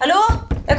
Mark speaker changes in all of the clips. Speaker 1: Hallo? Jeg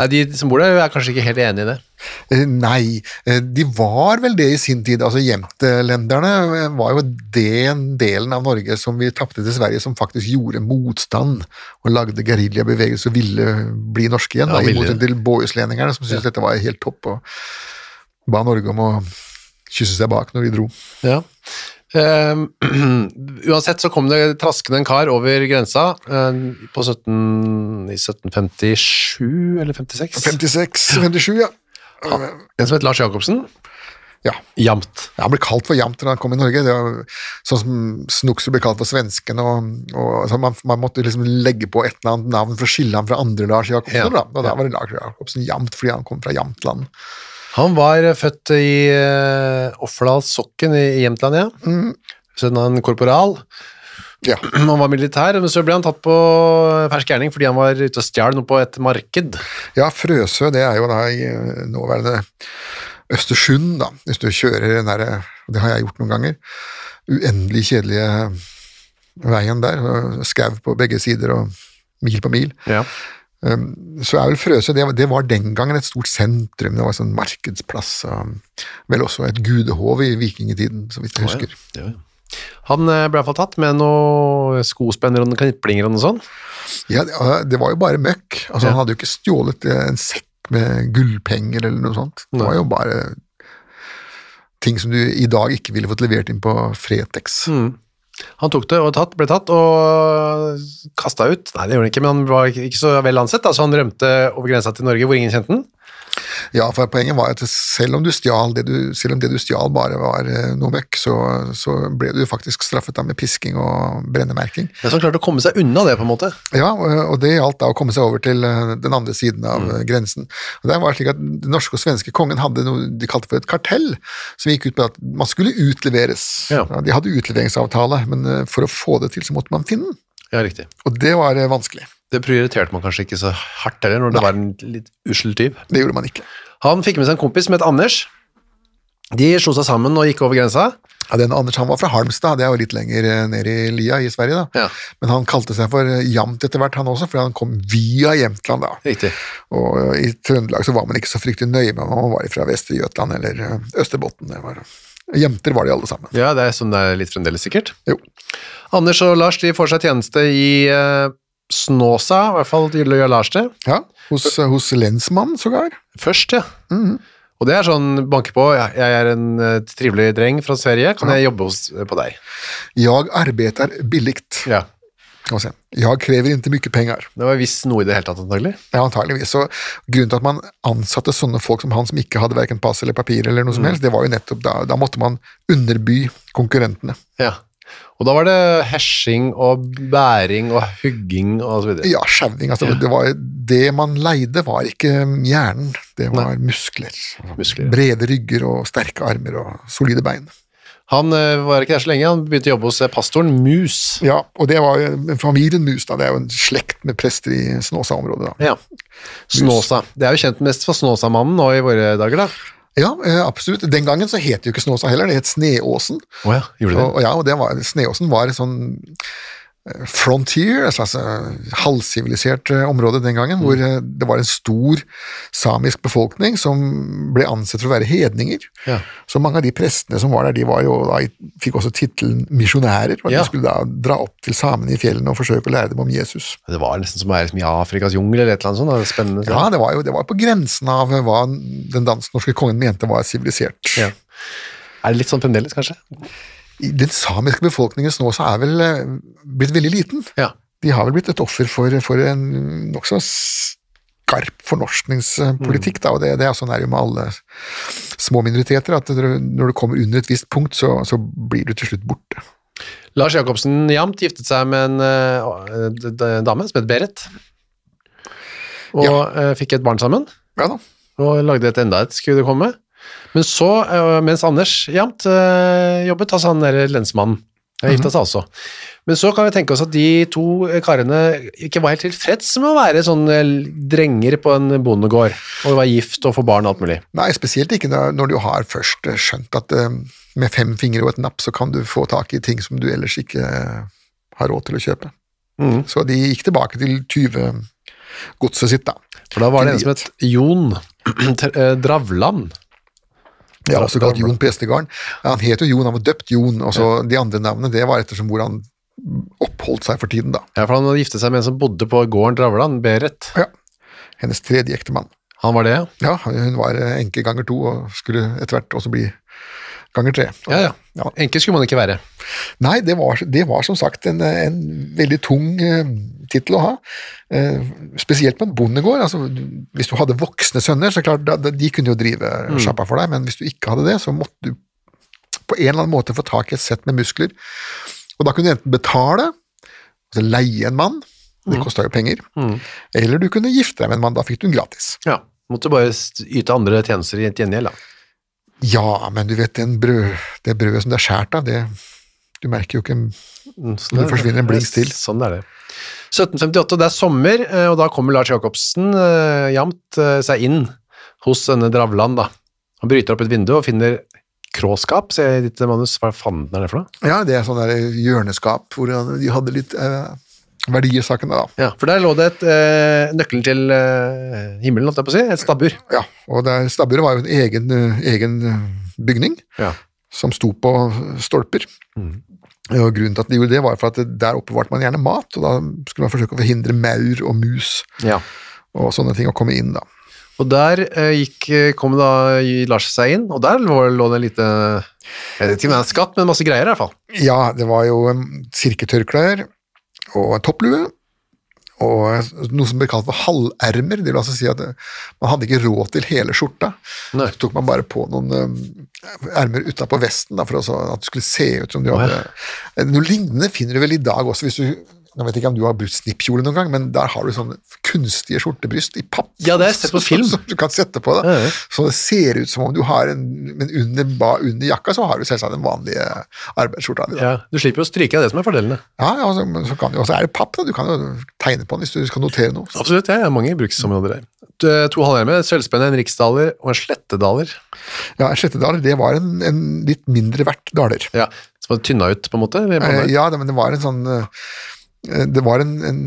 Speaker 2: Nei, de som bor der er kanskje ikke helt enig i det.
Speaker 3: Eh, Nei, eh, de var vel det i sin tid. Altså Jemtelenderne eh, var jo den delen av Norge som vi tapte til Sverige, som faktisk gjorde motstand og lagde geriljabevegelser og ville bli norske igjen.
Speaker 2: Ja,
Speaker 3: da, I
Speaker 2: ville
Speaker 3: motsetning til Båhuslendingerne, som syntes dette var helt topp, og ba Norge om å kysse seg bak når vi dro.
Speaker 2: Ja. Ehm, uansett så kom det traskende en kar over grensa eh, på 17, i 1757 eller 56.
Speaker 3: 56-57, ja.
Speaker 2: En som het Lars Jacobsen.
Speaker 3: ja.
Speaker 2: Jamt.
Speaker 3: Ja, Han ble kalt for Jamter da han kom i Norge. Det var sånn som Snukser ble kalt for svenskene. Og, og, så man, man måtte liksom legge på et eller annet navn for å skille ham fra andre Lars Jacobsen.
Speaker 2: Ja,
Speaker 3: Da. Og da var det Lars Jacobsen Jamt fordi han kom fra Jamtland.
Speaker 2: Han var eh, født i uh, Offerdalssokken i i Jämtland, ja. Sønn av en korporal.
Speaker 3: Ja.
Speaker 2: Han var militær, men så ble han tatt på fersk gjerning fordi han var ute og stjal noe på et marked.
Speaker 3: ja, Frøsø det er jo da i eh, nåværende Østersund, da. Hvis du kjører den derre, og det har jeg gjort noen ganger, uendelig kjedelige veien der. og Skau på begge sider og mil på mil. så er vel Frøsø det, det var den gangen et stort sentrum, det var en sånn markedsplass, og vel også et gudehov i vikingetiden, så vidt jeg husker.
Speaker 2: Han eh, ble iallfall tatt med noen skospenner og noen kniplinger og noe sånt.
Speaker 3: Ja, det, det var jo bare møkk, altså
Speaker 2: Ja.
Speaker 3: han hadde jo ikke stjålet eh, en sekk med gullpenger eller noe sånt, det var jo bare ting som du i dag ikke ville fått levert inn på Fretex.
Speaker 2: Mm. Han tok det og tatt, ble tatt og kasta ut. Nei, det gjorde han ikke, men han var ikke ikke så vel ansett, da, så han rømte over grensa til Norge, hvor ingen kjente han.
Speaker 3: Ja, for poenget var at selv om du stjal det du, selv om det du stjal bare var eh, noe møkk, så, så ble du faktisk straffet da med pisking og brennemerking.
Speaker 2: Men så han klarte å komme seg unna det, på en måte.
Speaker 3: Ja, og og det gjaldt da å komme seg over til eh, den andre siden av
Speaker 2: Mm.
Speaker 3: eh, grensen. Og der var det slik at Den norske og svenske kongen hadde noe de kalte for et kartell, som gikk ut på at man skulle utleveres.
Speaker 2: Ja.
Speaker 3: de hadde utleveringsavtale, men eh, for å få det til så måtte man finne den,
Speaker 2: Ja, riktig.
Speaker 3: og det var eh, vanskelig.
Speaker 2: Det prioriterte man kanskje ikke så hardt heller, når det var en litt ussel tyv.
Speaker 3: Det gjorde man ikke.
Speaker 2: Han fikk med seg en kompis som het Anders. De slo seg sammen og gikk over grensa.
Speaker 3: Ja, den Anders han var fra Halmstad, det er jo litt lenger eh, ned i lia i Sverige, da.
Speaker 2: Ja.
Speaker 3: men han kalte seg for eh, Jamt etter hvert, han også, for han kom via Jämtland. da.
Speaker 2: Riktig.
Speaker 3: Og eh, i Trøndelag så var man ikke så fryktelig nøye med om man var fra Vestre Jøtland eller eh, Østerbotten. Det var, jenter var de alle sammen.
Speaker 2: Ja, det er sånn det er litt fremdeles sikkert.
Speaker 3: Jo.
Speaker 2: Anders og Lars de får seg tjeneste i eh, Snåsa, i hvert fall gjør Lars det.
Speaker 3: Ja, hos, hos lensmannen sågar.
Speaker 2: Først, ja. Og det er sånn, banke på, ja, jeg er en eh, trivelig eh, dreng fra Sverige, kan jeg jobbe hos, på deg?
Speaker 3: Jag arbetar billigt.
Speaker 2: Ja.
Speaker 3: Skal vi se. Jag kräver inte mycket pengar.
Speaker 2: Det var visst noe i det hele tatt, antagelig.
Speaker 3: Ja, antageligvis. Så grunnen til at man ansatte sånne folk som han, som ikke hadde verken pass eller papir eller noe som helst, det var jo nettopp da, da måtte man underby konkurrentene.
Speaker 2: Ja. Og da var det hesjing og bæring og hugging og så videre.
Speaker 3: Ja, skjeving. Altså, det, var, det man leide, var ikke hjernen, det var muskler.
Speaker 2: Muskler, ja.
Speaker 3: Brede rygger og sterke armer og solide bein.
Speaker 2: Han eh, var ikke der så lenge, han begynte å jobbe hos eh, pastoren Mus.
Speaker 3: Ja, og det var jo familien Mus, da. Det er jo en slekt med prester i Snåsa-området, da.
Speaker 2: Ja. Snåsa. Det er jo kjent mest for Snåsamannen nå i våre dager, da.
Speaker 3: Ja, eh, absolutt. Den gangen så het det jo ikke Snåsa heller, det het Sneåsen.
Speaker 2: Å ja, gjorde
Speaker 3: Og, og ja, og det var, Sneåsen var et sånn eh, frontier, et slags eh, halvsivilisert eh, område den gangen, hvor
Speaker 2: Mm.
Speaker 3: eh, det var en stor samisk befolkning som ble ansett for å være hedninger.
Speaker 2: Ja.
Speaker 3: Så mange av de prestene som var der, de var jo da, i- fikk også tittelen misjonærer, og
Speaker 2: Ja.
Speaker 3: de skulle da dra opp til samene i fjellene og forsøke å lære dem om Jesus.
Speaker 2: Det var nesten som å være liksom, i Afrikas jungel eller et eller annet sånt. da. Det er Spennende.
Speaker 3: Ja, det var jo det var på grensen av eh, hva den dansk-norske kongen mente var sivilisert.
Speaker 2: Ja. Er det litt sånn fremdeles, kanskje?
Speaker 3: I Den samiske befolkningen nå så er vel eh, blitt veldig liten.
Speaker 2: Ja.
Speaker 3: De har vel blitt et offer for, for en nokså skarp fornorskningspolitikk, da, og det, det er sånn er det jo med alle små minoriteter, at når du- når du kommer under et visst punkt, så, så blir du til slutt borte.
Speaker 2: Lars Jacobsen Jamt giftet seg med en eh, d- d- dame som het Berit. Og
Speaker 3: Ja.
Speaker 2: eh, fikk et barn sammen,
Speaker 3: Ja da.
Speaker 2: og lagde et enda et, skulle det komme. Men så, eh, mens Anders Jamt eh, jobbet, altså han der lensmannen, han gifta seg også. Men så kan vi tenke oss at de to eh, karene ikke var helt tilfreds med å være sånne drenger på en bondegård, og være gift og få barn og alt mulig.
Speaker 3: Nei, spesielt ikke når når du har først eh, skjønt at eh, med fem fingre og et napp så kan du få tak i ting som du ellers ikke eh, har råd til å kjøpe. Så de gikk tilbake til 20-godset sitt, da.
Speaker 2: For da var det en som
Speaker 3: Drit.
Speaker 2: het Jon Tr- eh, Dravland.
Speaker 3: Ja, også kalt
Speaker 2: da-
Speaker 3: Jon Prestegarden. Ja, Han het jo Jon, han var døpt Jon, og så de andre navnene, det var ettersom hvor han oppholdt seg for tiden, da.
Speaker 2: Ja, for han hadde giftet seg med en som bodde på gården Dravland, Berit.
Speaker 3: Ja. Hennes tredje ektemann.
Speaker 2: Han var det,
Speaker 3: Ja, hun var eh, enke ganger to, og skulle etter hvert også bli ganger tre.
Speaker 2: ja. ja, ja.
Speaker 3: Ja.
Speaker 2: Enke skulle man ikke være.
Speaker 3: Nei, det var, det var som sagt en, en veldig tung eh, tittel å ha. Eh, spesielt på en bondegård. Altså, du- hvis du hadde voksne sønner, så klart, da, da, de kunne jo drive sjappa for deg, men hvis du ikke hadde det, så måtte du på en eller annen måte få tak i et sett med muskler. Og da kunne du enten betale, altså leie en mann, det kosta jo penger, eller du kunne gifte deg med en mann, da fikk du den gratis.
Speaker 2: Ja. Måtte bare st- yte andre tjenester i et gjengjeld, da.
Speaker 3: Ja, men du vet, den brød, det brødet som det er skåret av, det Du merker jo ikke
Speaker 2: Sånn
Speaker 3: Nå
Speaker 2: er
Speaker 3: forsvinner en blings til.
Speaker 2: Sånn er det. 1758, det er sommer, eh, og da kommer Lars Jacobsen eh, jamt eh, seg inn hos denne Dravland, da. Han bryter opp et vindu og finner kråskap, ser jeg i ditt manus. Hva fanden er det for noe?
Speaker 3: Ja, det er sånn der hjørneskap hvor de hadde litt eh, verdier sakene, da.
Speaker 2: Ja, for der lå det et eh, nøkkelen til eh, himmelen, holdt jeg på å si. Et stabbur.
Speaker 3: Ja, og der- stabburet var jo en egen, eh, egen eh, bygning
Speaker 2: Ja.
Speaker 3: som sto på eh, stolper. Og grunnen til at de gjorde det, var for at der oppbevarte man gjerne mat, og da skulle man forsøke å forhindre maur og mus
Speaker 2: Ja.
Speaker 3: og sånne ting å komme inn, da.
Speaker 2: Og der eh, gikk, eh, kom da Lars seg inn, og der lå, lå det en lite Jeg vet ikke om det er en skatt, men masse greier i hvert fall.
Speaker 3: Ja, det var jo um, sirketørklær og en topplue. Og noe som ble kalt for halvermer. Det vil altså si at eh, man hadde ikke råd til hele skjorta.
Speaker 2: Nei.
Speaker 3: Så tok man bare på noen um, ermer utapå vesten da, for å så- at det skulle se ut som du hadde Eh, Noe lignende finner du vel i dag også, hvis du nå vet jeg ikke om du har brukt snippkjole noen gang, men der har du sånne kunstige skjortebryst i papp.
Speaker 2: Ja, det har jeg sett på film.
Speaker 3: Som, du kan sette på
Speaker 2: Ja, ja.
Speaker 3: deg. Så det ser ut som om du har en Men under, ba- under jakka så har du selvsagt den vanlige arbeidsskjorta di. da.
Speaker 2: Ja, du slipper jo å stryke, det er det som er fordelene.
Speaker 3: Ja, ja, så, men så kan du, og så er det papp, da. Du kan jo tegne på den hvis du skal notere noe.
Speaker 2: Absolutt, jeg har mange bruksområder der. To, to halvhjermer, et sølvspenne, en riksdaler og en slettedaler.
Speaker 3: Ja, Slettedaler, det var en, en litt mindre verdt daler.
Speaker 2: Ja, Som var tynna ut, på en måte? eller på en
Speaker 3: Eh,
Speaker 2: måte.
Speaker 3: Ja, det, men det var en sånn eh, Det var en, en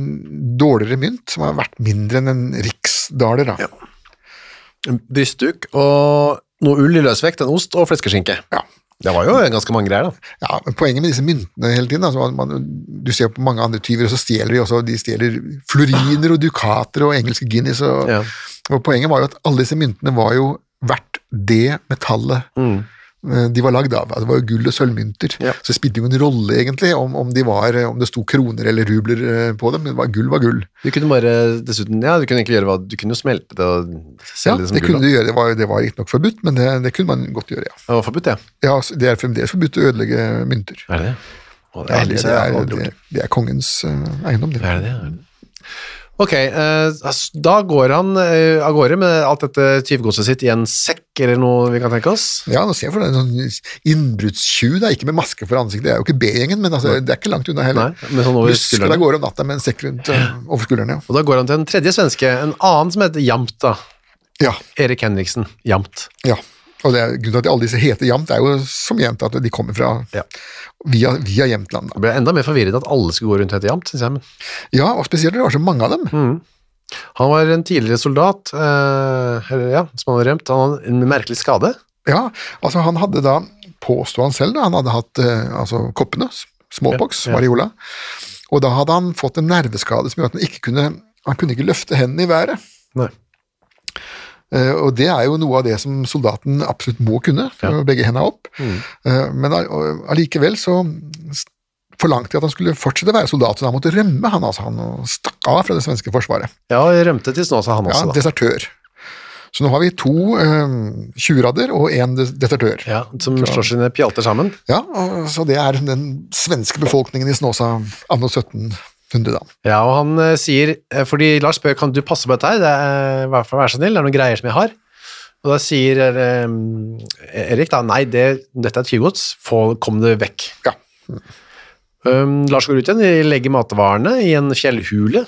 Speaker 3: dårligere mynt som har vært mindre enn en riksdaler, da. Ja.
Speaker 2: En Brystduk og noe ull i løsvekt, en ost og fleskeskinke.
Speaker 3: Ja.
Speaker 2: Det var jo ganske mange greier, da.
Speaker 3: men Poenget med disse myntene hele tiden altså, man, Du ser på mange andre tyver, og så stjeler de også. De stjeler floriner og dukater og engelske Guinness. Og,
Speaker 2: Ja.
Speaker 3: og poenget var jo at alle disse myntene var jo verdt det metallet eh, de var lagd av. Altså, Det var jo gull og sølvmynter,
Speaker 2: Mm. Ja.
Speaker 3: så det spilte jo ingen rolle egentlig om, om, de var, eh, om det sto kroner eller rubler eh, på dem, men det var, gull var gull.
Speaker 2: Du kunne bare dessuten, ja, du kunne egentlig gjøre hva, du kunne jo smelte det og
Speaker 3: Ja,
Speaker 2: selge det som
Speaker 3: det
Speaker 2: gull.
Speaker 3: kunne
Speaker 2: da.
Speaker 3: du gjøre, det var, det var riktignok forbudt, men det, det kunne man godt gjøre, ja.
Speaker 2: Det var forbudt, ja.
Speaker 3: ja. så Det er fremdeles forbudt å ødelegge mynter.
Speaker 2: Er det det? Å,
Speaker 3: Det er,
Speaker 2: aldri-
Speaker 3: det
Speaker 2: jeg har
Speaker 3: er,
Speaker 2: aldri gjort
Speaker 3: det, det er kongens eh, eiendom, det.
Speaker 2: Er det det? Er det det? Ok, eh, altså, da går han eh, av gårde med alt dette tyvgodset sitt i en sekk, eller noe vi kan tenke oss.
Speaker 3: Ja, nå ser jeg for deg en sånn innbruddstjuv, da, ikke med maske for ansiktet, det er jo ikke B-gjengen, men altså, det er ikke langt unna heller.
Speaker 2: Nei, men sånn over
Speaker 3: Husker
Speaker 2: skuldrene.
Speaker 3: deg går om natta med en sekk rundt eh, over skulderen, ja.
Speaker 2: Og da går han til en tredje svenske, en annen som heter Jamt da.
Speaker 3: Ja,
Speaker 2: Erik Henriksen, Jamt.
Speaker 3: ja. Og det er, grunnen til at alle disse heter Jamt, er jo som jevnt at de kommer fra
Speaker 2: Ja.
Speaker 3: via, via Jämtland.
Speaker 2: Da
Speaker 3: Da.
Speaker 2: ble jeg enda mer forvirret at alle skulle gå rundt og hete Jamt, synes jeg. Men
Speaker 3: Ja, og spesielt det var så mange av dem.
Speaker 2: Mm. han var en tidligere soldat, eh, eller, ja, som han hadde rømt. Han hadde en merkelig skade.
Speaker 3: Ja, altså han hadde da, påstod han selv da, han hadde hatt eh, altså, koppene, s- småpox,
Speaker 2: Ja, ja.
Speaker 3: variola, og da hadde han fått en nerveskade som gjorde at han ikke kunne, han kunne ikke løfte hendene i været.
Speaker 2: Nei.
Speaker 3: Eh, Og det er jo noe av det som soldaten absolutt må kunne,
Speaker 2: Ja. Mm.
Speaker 3: begge hendene opp. Eh, Men all- og allikevel så s- forlangte de at han skulle fortsette å være soldat, så han måtte rømme, han altså. Han stakk av fra det svenske forsvaret.
Speaker 2: Ja, og rømte til Snåsa han
Speaker 3: Ja,
Speaker 2: også da.
Speaker 3: desertør. Så nå har vi to eh, tjuvradder og én des- desertør.
Speaker 2: Ja, som slår sine pjalter sammen.
Speaker 3: Ja, og- Så det er den svenske befolkningen i Snåsa anno 1700, da.
Speaker 2: Ja, og han eh, sier, eh, fordi Lars spør, kan du passe på dette her? Det er, eh, vær, vær så snill, det er noen greier som jeg har. Og da sier eh, Erik da, nei, det, dette er tyvgods, Få- kom det vekk.
Speaker 3: Ja.
Speaker 2: Um, Lars går ut igjen, de legger matvarene i en fjellhule,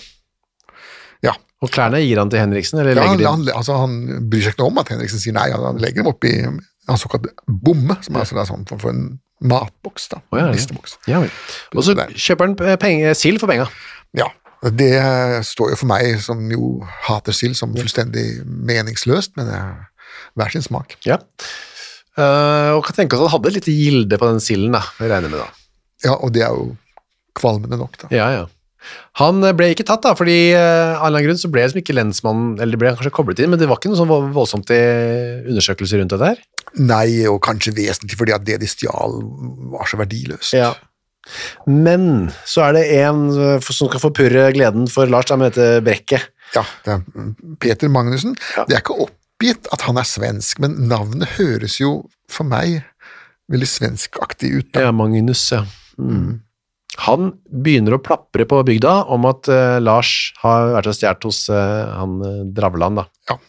Speaker 3: ja.
Speaker 2: og klærne gir han til Henriksen, eller
Speaker 3: ja han,
Speaker 2: legger de
Speaker 3: han, altså, han bryr seg ikke noe om at Henriksen sier nei, han legger dem oppi en såkalt bomme, som er altså en sånn form for en matboks, da.
Speaker 2: Å, ja, ja.
Speaker 3: Listeboks.
Speaker 2: Ja, vel. Og så kjøper han eh, penge, sild for penga.
Speaker 3: Ja. Det står jo for meg, som jo hater sild, som fullstendig meningsløst, men det er hver sin smak.
Speaker 2: Ja. Eh, og kan tenke oss at han hadde et lite gilde på den silden, da, vi regner med da.
Speaker 3: Ja, og det er jo kvalmende nok, da.
Speaker 2: Ja, ja. Han eh, ble ikke tatt da, fordi eh, av en eller annen grunn så ble liksom ikke lensmannen, eller det ble kanskje koblet inn, men det var ikke noe sånn vo- voldsomt i undersøkelser rundt dette her.
Speaker 3: Nei, og kanskje vesentlig fordi at det de stjal, var så verdiløst.
Speaker 2: Men så er det en eh, som skal forpurre gleden for Lars, da, med dette brekket.
Speaker 3: Ja, det er Peter Magnussen. Det er ikke oppgitt at han er svensk, men navnet høres jo for meg veldig svenskaktig ut.
Speaker 2: Ja, Magnus, ja. Mm. Han begynner å plapre på bygda om at eh, Lars har vært og stjålet hos eh, han eh, Dravland, da.
Speaker 3: Ja.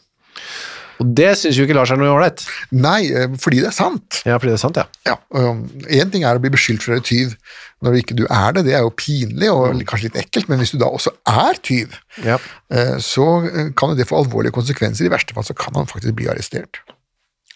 Speaker 2: Og det syns jo ikke Lars er noe ålreit.
Speaker 3: Nei, eh, fordi det er sant.
Speaker 2: Ja, fordi det er sant, ja.
Speaker 3: Ja, Én ting er å bli beskyldt for å være tyv når ikke du er det, det er jo pinlig og kanskje litt ekkelt, men hvis du da også er tyv,
Speaker 2: ja.
Speaker 3: eh, så eh, kan jo det få alvorlige konsekvenser. I verste fall så kan han faktisk bli arrestert.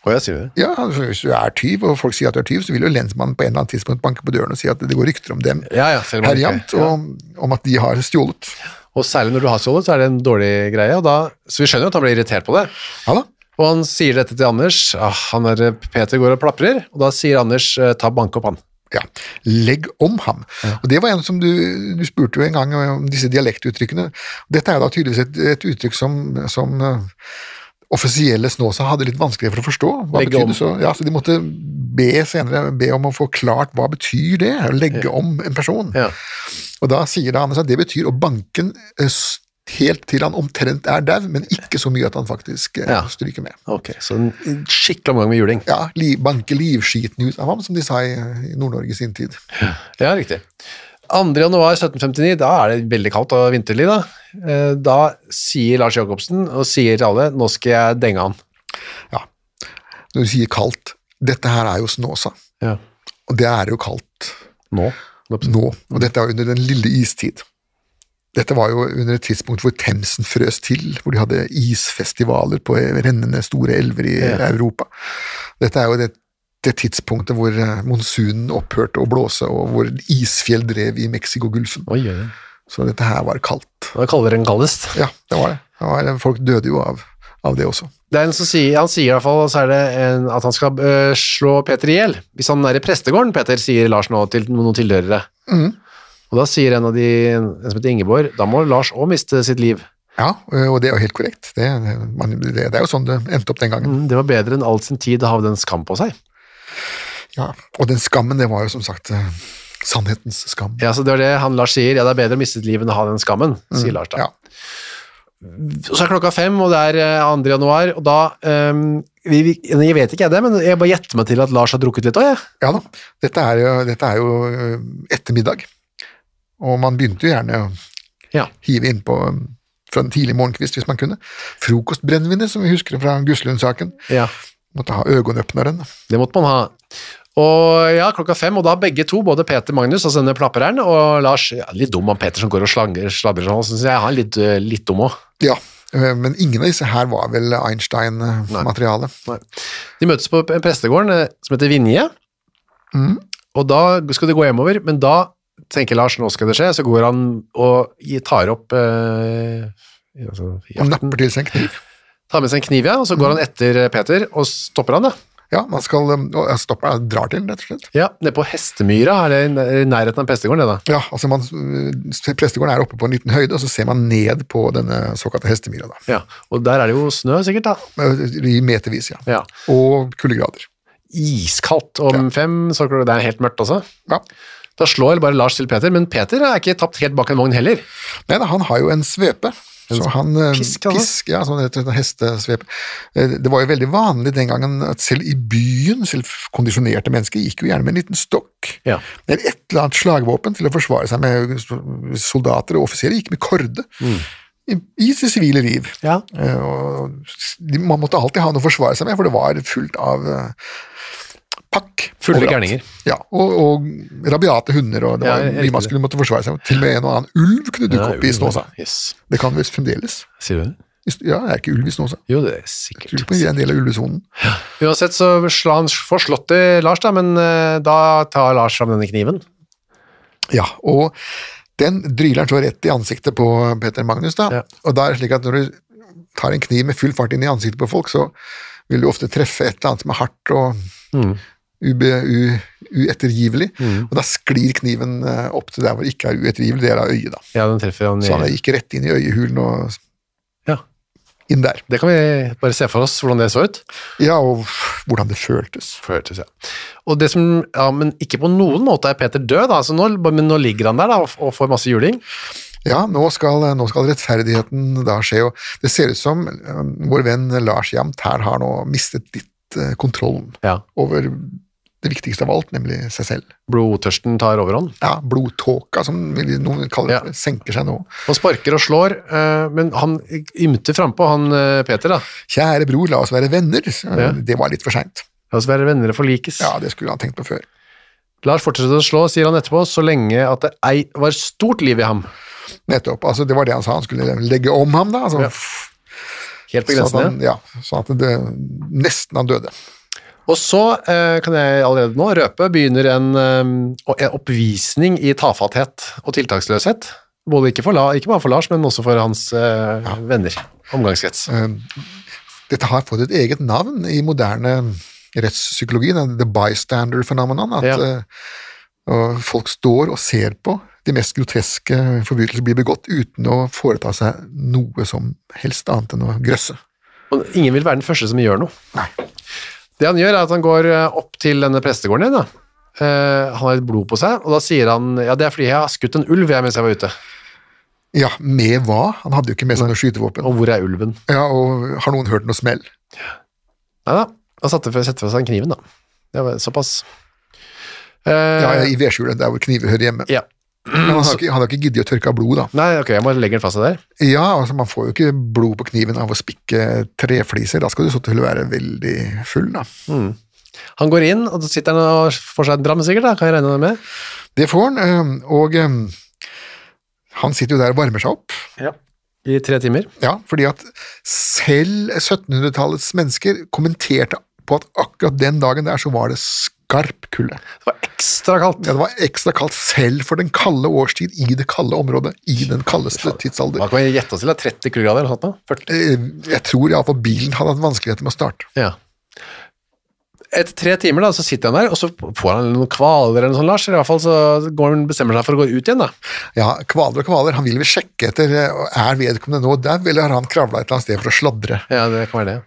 Speaker 2: Og jeg sier det.
Speaker 3: Ja, altså, Hvis du er tyv, og folk sier at du er tyv, så vil jo lensmannen på en eller annen tidspunkt banke på døren og si at det går rykter om dem
Speaker 2: Ja, ja, selv om
Speaker 3: her
Speaker 2: han
Speaker 3: i
Speaker 2: ikke-
Speaker 3: amt, og om at de har stjålet.
Speaker 2: Og særlig når du har stjålet, så er det en dårlig greie. Og da, så vi skjønner jo at han blir irritert på det.
Speaker 3: Ja da.
Speaker 2: Og han sier dette til Anders. Ah, han der Peter går og plaprer, og da sier Anders eh, ta bank opp han.
Speaker 3: Ja, legg om ham. Og Det var en som du, du spurte jo en gang om disse dialektuttrykkene. Dette er da tydeligvis et, et uttrykk som, som eh, offisielle Snåsa hadde litt vanskelig for å forstå. Hva
Speaker 2: Legge
Speaker 3: betyr
Speaker 2: om.
Speaker 3: det så? Ja, så de måtte be senere be om å få klart hva betyr det, å legge om en person.
Speaker 2: Ja.
Speaker 3: Og da sier da Anders at det betyr å banke den eh, s- helt til han omtrent er dau, men ikke så mye at han faktisk eh,
Speaker 2: Ja.
Speaker 3: stryker med.
Speaker 2: Ok, så en skikkelig omgang med juling.
Speaker 3: Ja, li, banke livskiten ut av ham, som de sa i, i Nord-Norge i sin tid.
Speaker 2: Ja, riktig. 2. januar 1759, da er det veldig kaldt og vinterlig da. Eh, Da sier Lars Jacobsen, og sier til alle, nå skal jeg denge han.
Speaker 3: når du sier kaldt Dette her er jo Snåsa,
Speaker 2: Ja.
Speaker 3: og det er jo kaldt
Speaker 2: Nå?
Speaker 3: nå. Og dette er jo under den lille istid. Dette var jo under et tidspunkt hvor Themsen frøs til, hvor de hadde isfestivaler på rennende store elver i
Speaker 2: Ja.
Speaker 3: Europa. Dette er jo det, det tidspunktet hvor eh, monsunen opphørte å blåse, og hvor isfjell drev i Mexicogolfen.
Speaker 2: Oi, oi, oi.
Speaker 3: Så dette her var kaldt.
Speaker 2: Da kaller den kaldest.
Speaker 3: Ja, det var det. det var, folk døde jo av, av det også.
Speaker 2: Det er en som sier, han sier i hvert fall så er det en, at han skal øh, slå Peter ihjel. Hvis han er i prestegården, Peter, sier Lars nå til noen tilhørere. Og da sier en av de, en som heter Ingeborg, da må Lars også miste sitt liv.
Speaker 3: Ja, og det er jo helt korrekt. Det, man, det, det er jo sånn det endte opp den gangen.
Speaker 2: Mm, Det var bedre enn all sin tid å ha den skam på seg.
Speaker 3: Ja, og den skammen, det var jo som sagt eh, sannhetens skam.
Speaker 2: Ja, så det var det han Lars sier. Ja, det er bedre å miste et liv enn å ha den skammen, sier Lars da.
Speaker 3: Ja.
Speaker 2: Og så er klokka fem, og det er eh, 2. januar, og da ehm, vi, vi, Jeg vet ikke jeg det, men jeg bare gjetter meg til at Lars har drukket litt òg, jeg.
Speaker 3: Ja da, dette er jo, dette er jo eh, ettermiddag, og man begynte jo gjerne å
Speaker 2: Ja.
Speaker 3: hive innpå um, fra en tidlig morgenkvist hvis man kunne. Frokostbrennevinet, som vi husker fra Guslund-saken.
Speaker 2: Ja.
Speaker 3: Måtte ha øyeåpneren.
Speaker 2: Det måtte man ha. Og ja, klokka fem, og da begge to, både Peter Magnus, altså denne plappereren, og Lars ja, Litt dum av Peter som går og slanger, slabrer sånn, syns jeg. Han er litt, eh, litt dum òg.
Speaker 3: Ja, eh, men ingen av disse her var vel eh, Einstein-materiale.
Speaker 2: De møtes på prestegården eh, som heter Vinje,
Speaker 3: Mm.
Speaker 2: og da skal de gå hjemover, men da tenker Lars nå skal det skje, så går han og gi- tar opp eh, altså,
Speaker 3: Og
Speaker 2: jakten,
Speaker 3: napper til seg en kniv.
Speaker 2: tar med seg en kniv, ja, og så går han etter eh, Peter og stopper han, da.
Speaker 3: Ja, man skal um, og jeg stopper, jeg drar til, rett og slett.
Speaker 2: Ja, nede på Hestemyra, er det i nær- i nærheten av prestegården, det da.
Speaker 3: Ja, altså man, øh, Prestegården er oppe på en liten høyde, og så ser man ned på denne såkalte hestemyra. da.
Speaker 2: Ja, og der er det jo snø sikkert, da.
Speaker 3: Øh, I metervis, ja.
Speaker 2: Ja.
Speaker 3: Og kuldegrader.
Speaker 2: iskaldt om fem, så klart- det er helt mørkt også.
Speaker 3: Ja.
Speaker 2: Da slår bare Lars til Peter, men Peter er ikke tapt helt bak en vogn heller.
Speaker 3: Nei da, han har jo en svepe. Så han, øh,
Speaker 2: pisk, altså?
Speaker 3: pisk, ja, sånn som det heter, en hestesvepe. Eh, Det var jo veldig vanlig den gangen at selv i byen, selv kondisjonerte mennesker, gikk jo gjerne med en liten stokk.
Speaker 2: Ja.
Speaker 3: Eller et eller annet slagvåpen til å forsvare seg med soldater og offiserer, gikk med korde. I, I sitt sivile liv.
Speaker 2: Mm. Ja.
Speaker 3: Eh, og de- man måtte alltid ha noe å forsvare seg med, for det var fullt av eh, pakk.
Speaker 2: Fulle
Speaker 3: overalt.
Speaker 2: gærninger.
Speaker 3: Ja, og, og rabiate hunder, og det
Speaker 2: Ja,
Speaker 3: var
Speaker 2: jeg- jeg
Speaker 3: mye man
Speaker 2: likte
Speaker 3: skulle måtte forsvare seg mot. Til og med en og annen ulv kunne dukke opp i Snåsa.
Speaker 2: Yes.
Speaker 3: Det kan visst fremdeles.
Speaker 2: Sier du det?
Speaker 3: I St- Ja, er ikke ulv i Snåsa?
Speaker 2: Jo, det er
Speaker 3: Jeg
Speaker 2: sikkert.
Speaker 3: Tror på det er en del av ulvesonen.
Speaker 2: Uansett så slår han får slått i Lars da, men eh, da tar Lars fram denne kniven.
Speaker 3: Ja, og den dryler så rett i ansiktet på Peter Magnus, da.
Speaker 2: Ja.
Speaker 3: Og da er det slik at når du tar en kniv med full fart inn i ansiktet på folk, så vil du ofte treffe et eller annet som er hardt og
Speaker 2: Mm.
Speaker 3: ube, u, uettergivelig. Og da sklir kniven eh, opp til der hvor det ikke er uettergivelig, det er av øyet, da.
Speaker 2: Ja, den treffer han
Speaker 3: Så han
Speaker 2: i...
Speaker 3: gikk rett inn i øyehulen og
Speaker 2: Ja.
Speaker 3: inn der.
Speaker 2: Det kan vi bare se for oss hvordan det så ut.
Speaker 3: Ja, og hvordan det føltes.
Speaker 2: Føltes, ja. Og det som, ja, men ikke på noen måte er Peter død da, så nå, men nå ligger han der da og og får masse juling.
Speaker 3: Ja, nå skal, nå skal rettferdigheten da skje, og det ser ut som eh, vår venn Lars Jamt her har nå mistet litt eh, kontrollen
Speaker 2: Ja.
Speaker 3: over det viktigste av alt, nemlig seg selv.
Speaker 2: Blodtørsten tar overhånd.
Speaker 3: Ja, blodtåka, som noen kaller
Speaker 2: Ja.
Speaker 3: det, senker seg nå.
Speaker 2: Han sparker og slår, eh, men han ymter frampå, han eh, Peter, da.
Speaker 3: Kjære bror, la oss være venner. Det var litt for seint.
Speaker 2: La oss være venner og forlikes.
Speaker 3: Ja, det skulle han tenkt på før.
Speaker 2: Lars fortsetter å slå, sier han etterpå, så lenge at det ei var stort liv i ham.
Speaker 3: Nettopp. altså Det var det han sa, han skulle legge om ham, da. Altså,
Speaker 2: Ja, Helt på
Speaker 3: sånn, at han,
Speaker 2: grensene.
Speaker 3: ja, sånn at det nesten han døde.
Speaker 2: Og så, eh, kan jeg allerede nå røpe, begynner en, eh, en oppvisning i tafatthet og tiltaksløshet. Både ikke, for La, ikke bare for Lars, men også for hans eh, venner. Omgangskrets.
Speaker 3: Ehm, Dette har fått et eget navn i moderne rettspsykologi, det the bystander phenomenon, at
Speaker 2: Ja.
Speaker 3: eh, og folk står og ser på de mest groteske forbrytelser blir begått uten å foreta seg noe som helst annet enn å grøsse.
Speaker 2: Og ingen vil være den første som gjør noe.
Speaker 3: Nei.
Speaker 2: Det han gjør er at han går eh, opp til denne prestegården igjen, da. Eh, han har litt blod på seg, og da sier han ja, det er fordi jeg har skutt en ulv jeg mens jeg var ute.
Speaker 3: Ja, med hva? Han hadde jo ikke med seg noe skytevåpen.
Speaker 2: Og hvor er ulven?
Speaker 3: Ja, og har noen hørt noe smell?
Speaker 2: Nei da, han satte fra- setter fra seg kniven, da. Det var såpass. Eh,
Speaker 3: Ja, i vedskjulet, der hvor kniver hører hjemme.
Speaker 2: ja.
Speaker 3: Men altså- han har ikke, han har ikke giddet å tørke av blod, da.
Speaker 2: Nei, ok, jeg må legge den fra seg der.
Speaker 3: Ja, altså man får jo ikke blod på kniven av å spikke trefliser, da skal du så til å være veldig full, da.
Speaker 2: Han går inn, og så sitter han og får seg en dram, sikkert, da, kan jeg regne med.
Speaker 3: Det får han, øhm, og øhm, han sitter jo der og varmer seg opp.
Speaker 2: I tre timer.
Speaker 3: Ja, fordi at selv 1700-tallets mennesker kommenterte på at akkurat den dagen der så var det skarp kulde.
Speaker 2: Det var ekstra kaldt.
Speaker 3: Ja, det var ekstra kaldt selv for den kalde årstid i det kalde området, i den kaldeste
Speaker 2: Hva
Speaker 3: tidsalder.
Speaker 2: kan vi gjette oss til? da? 30 kuldegrader eller noe sånt? nå? 40?
Speaker 3: Eh, Jeg tror iallfall bilen hadde hatt vanskeligheter med å starte.
Speaker 2: Ja. Etter tre timer da, så sitter han der, og så får han noen kvaler eller noe sånt, Lars. Eller i hvert fall så går han, bestemmer seg for å gå ut igjen, da.
Speaker 3: Ja, kvaler og kvaler, han ville vel sjekke etter eh, er vedkommende nå dau, eller har han kravla et eller annet sted for å sladre?
Speaker 2: Ja, det kan være det.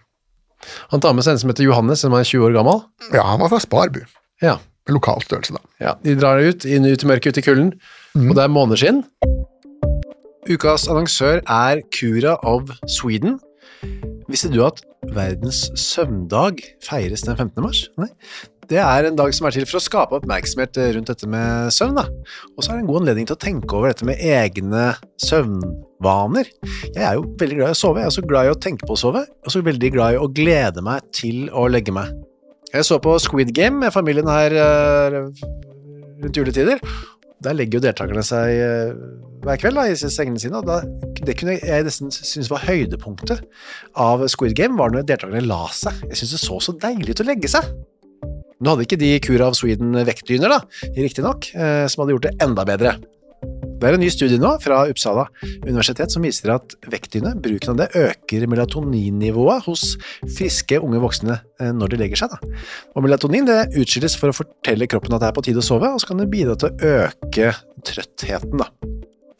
Speaker 2: Han tar med seg en som heter Johannes, som er 20 år gammel.
Speaker 3: Ja, han var fra Sparbu.
Speaker 2: Ja.
Speaker 3: Lokal størrelse, da.
Speaker 2: Ja, de drar ut, inn ut i mørket, ut i kulden, og det er måneskinn. Ukas annonsør er Cura of Sweden. Visste du at verdens søvndag feires den 15. mars? Nei. Det er en dag som er til for å skape oppmerksomhet eh, rundt dette med søvn. da. Og så er det en god anledning til å tenke over dette med egne søvnvaner. Jeg er jo veldig glad i å sove, jeg er også glad i å tenke på å sove, og så veldig glad i å glede meg til å legge meg. Jeg så på Squid Game med familien her eh, rundt juletider. Der legger jo deltakerne seg eh, hver kveld da, i sengene sine, og da, det kunne jeg nesten synes var høydepunktet av Squid Game, var når deltakerne la seg. Jeg synes det så så deilig ut å legge seg. Nå hadde ikke de Cura of Sweden vektdyner, da, riktignok, eh, som hadde gjort det enda bedre. Det er en ny studie nå fra Uppsala universitet som viser at vektdyne, bruken av det, øker melatoninnivået hos friske unge voksne eh, når de legger seg. Da. Og melatonin det utskilles for å fortelle kroppen at det er på tide å sove, og så kan det bidra til å øke trøttheten. Da.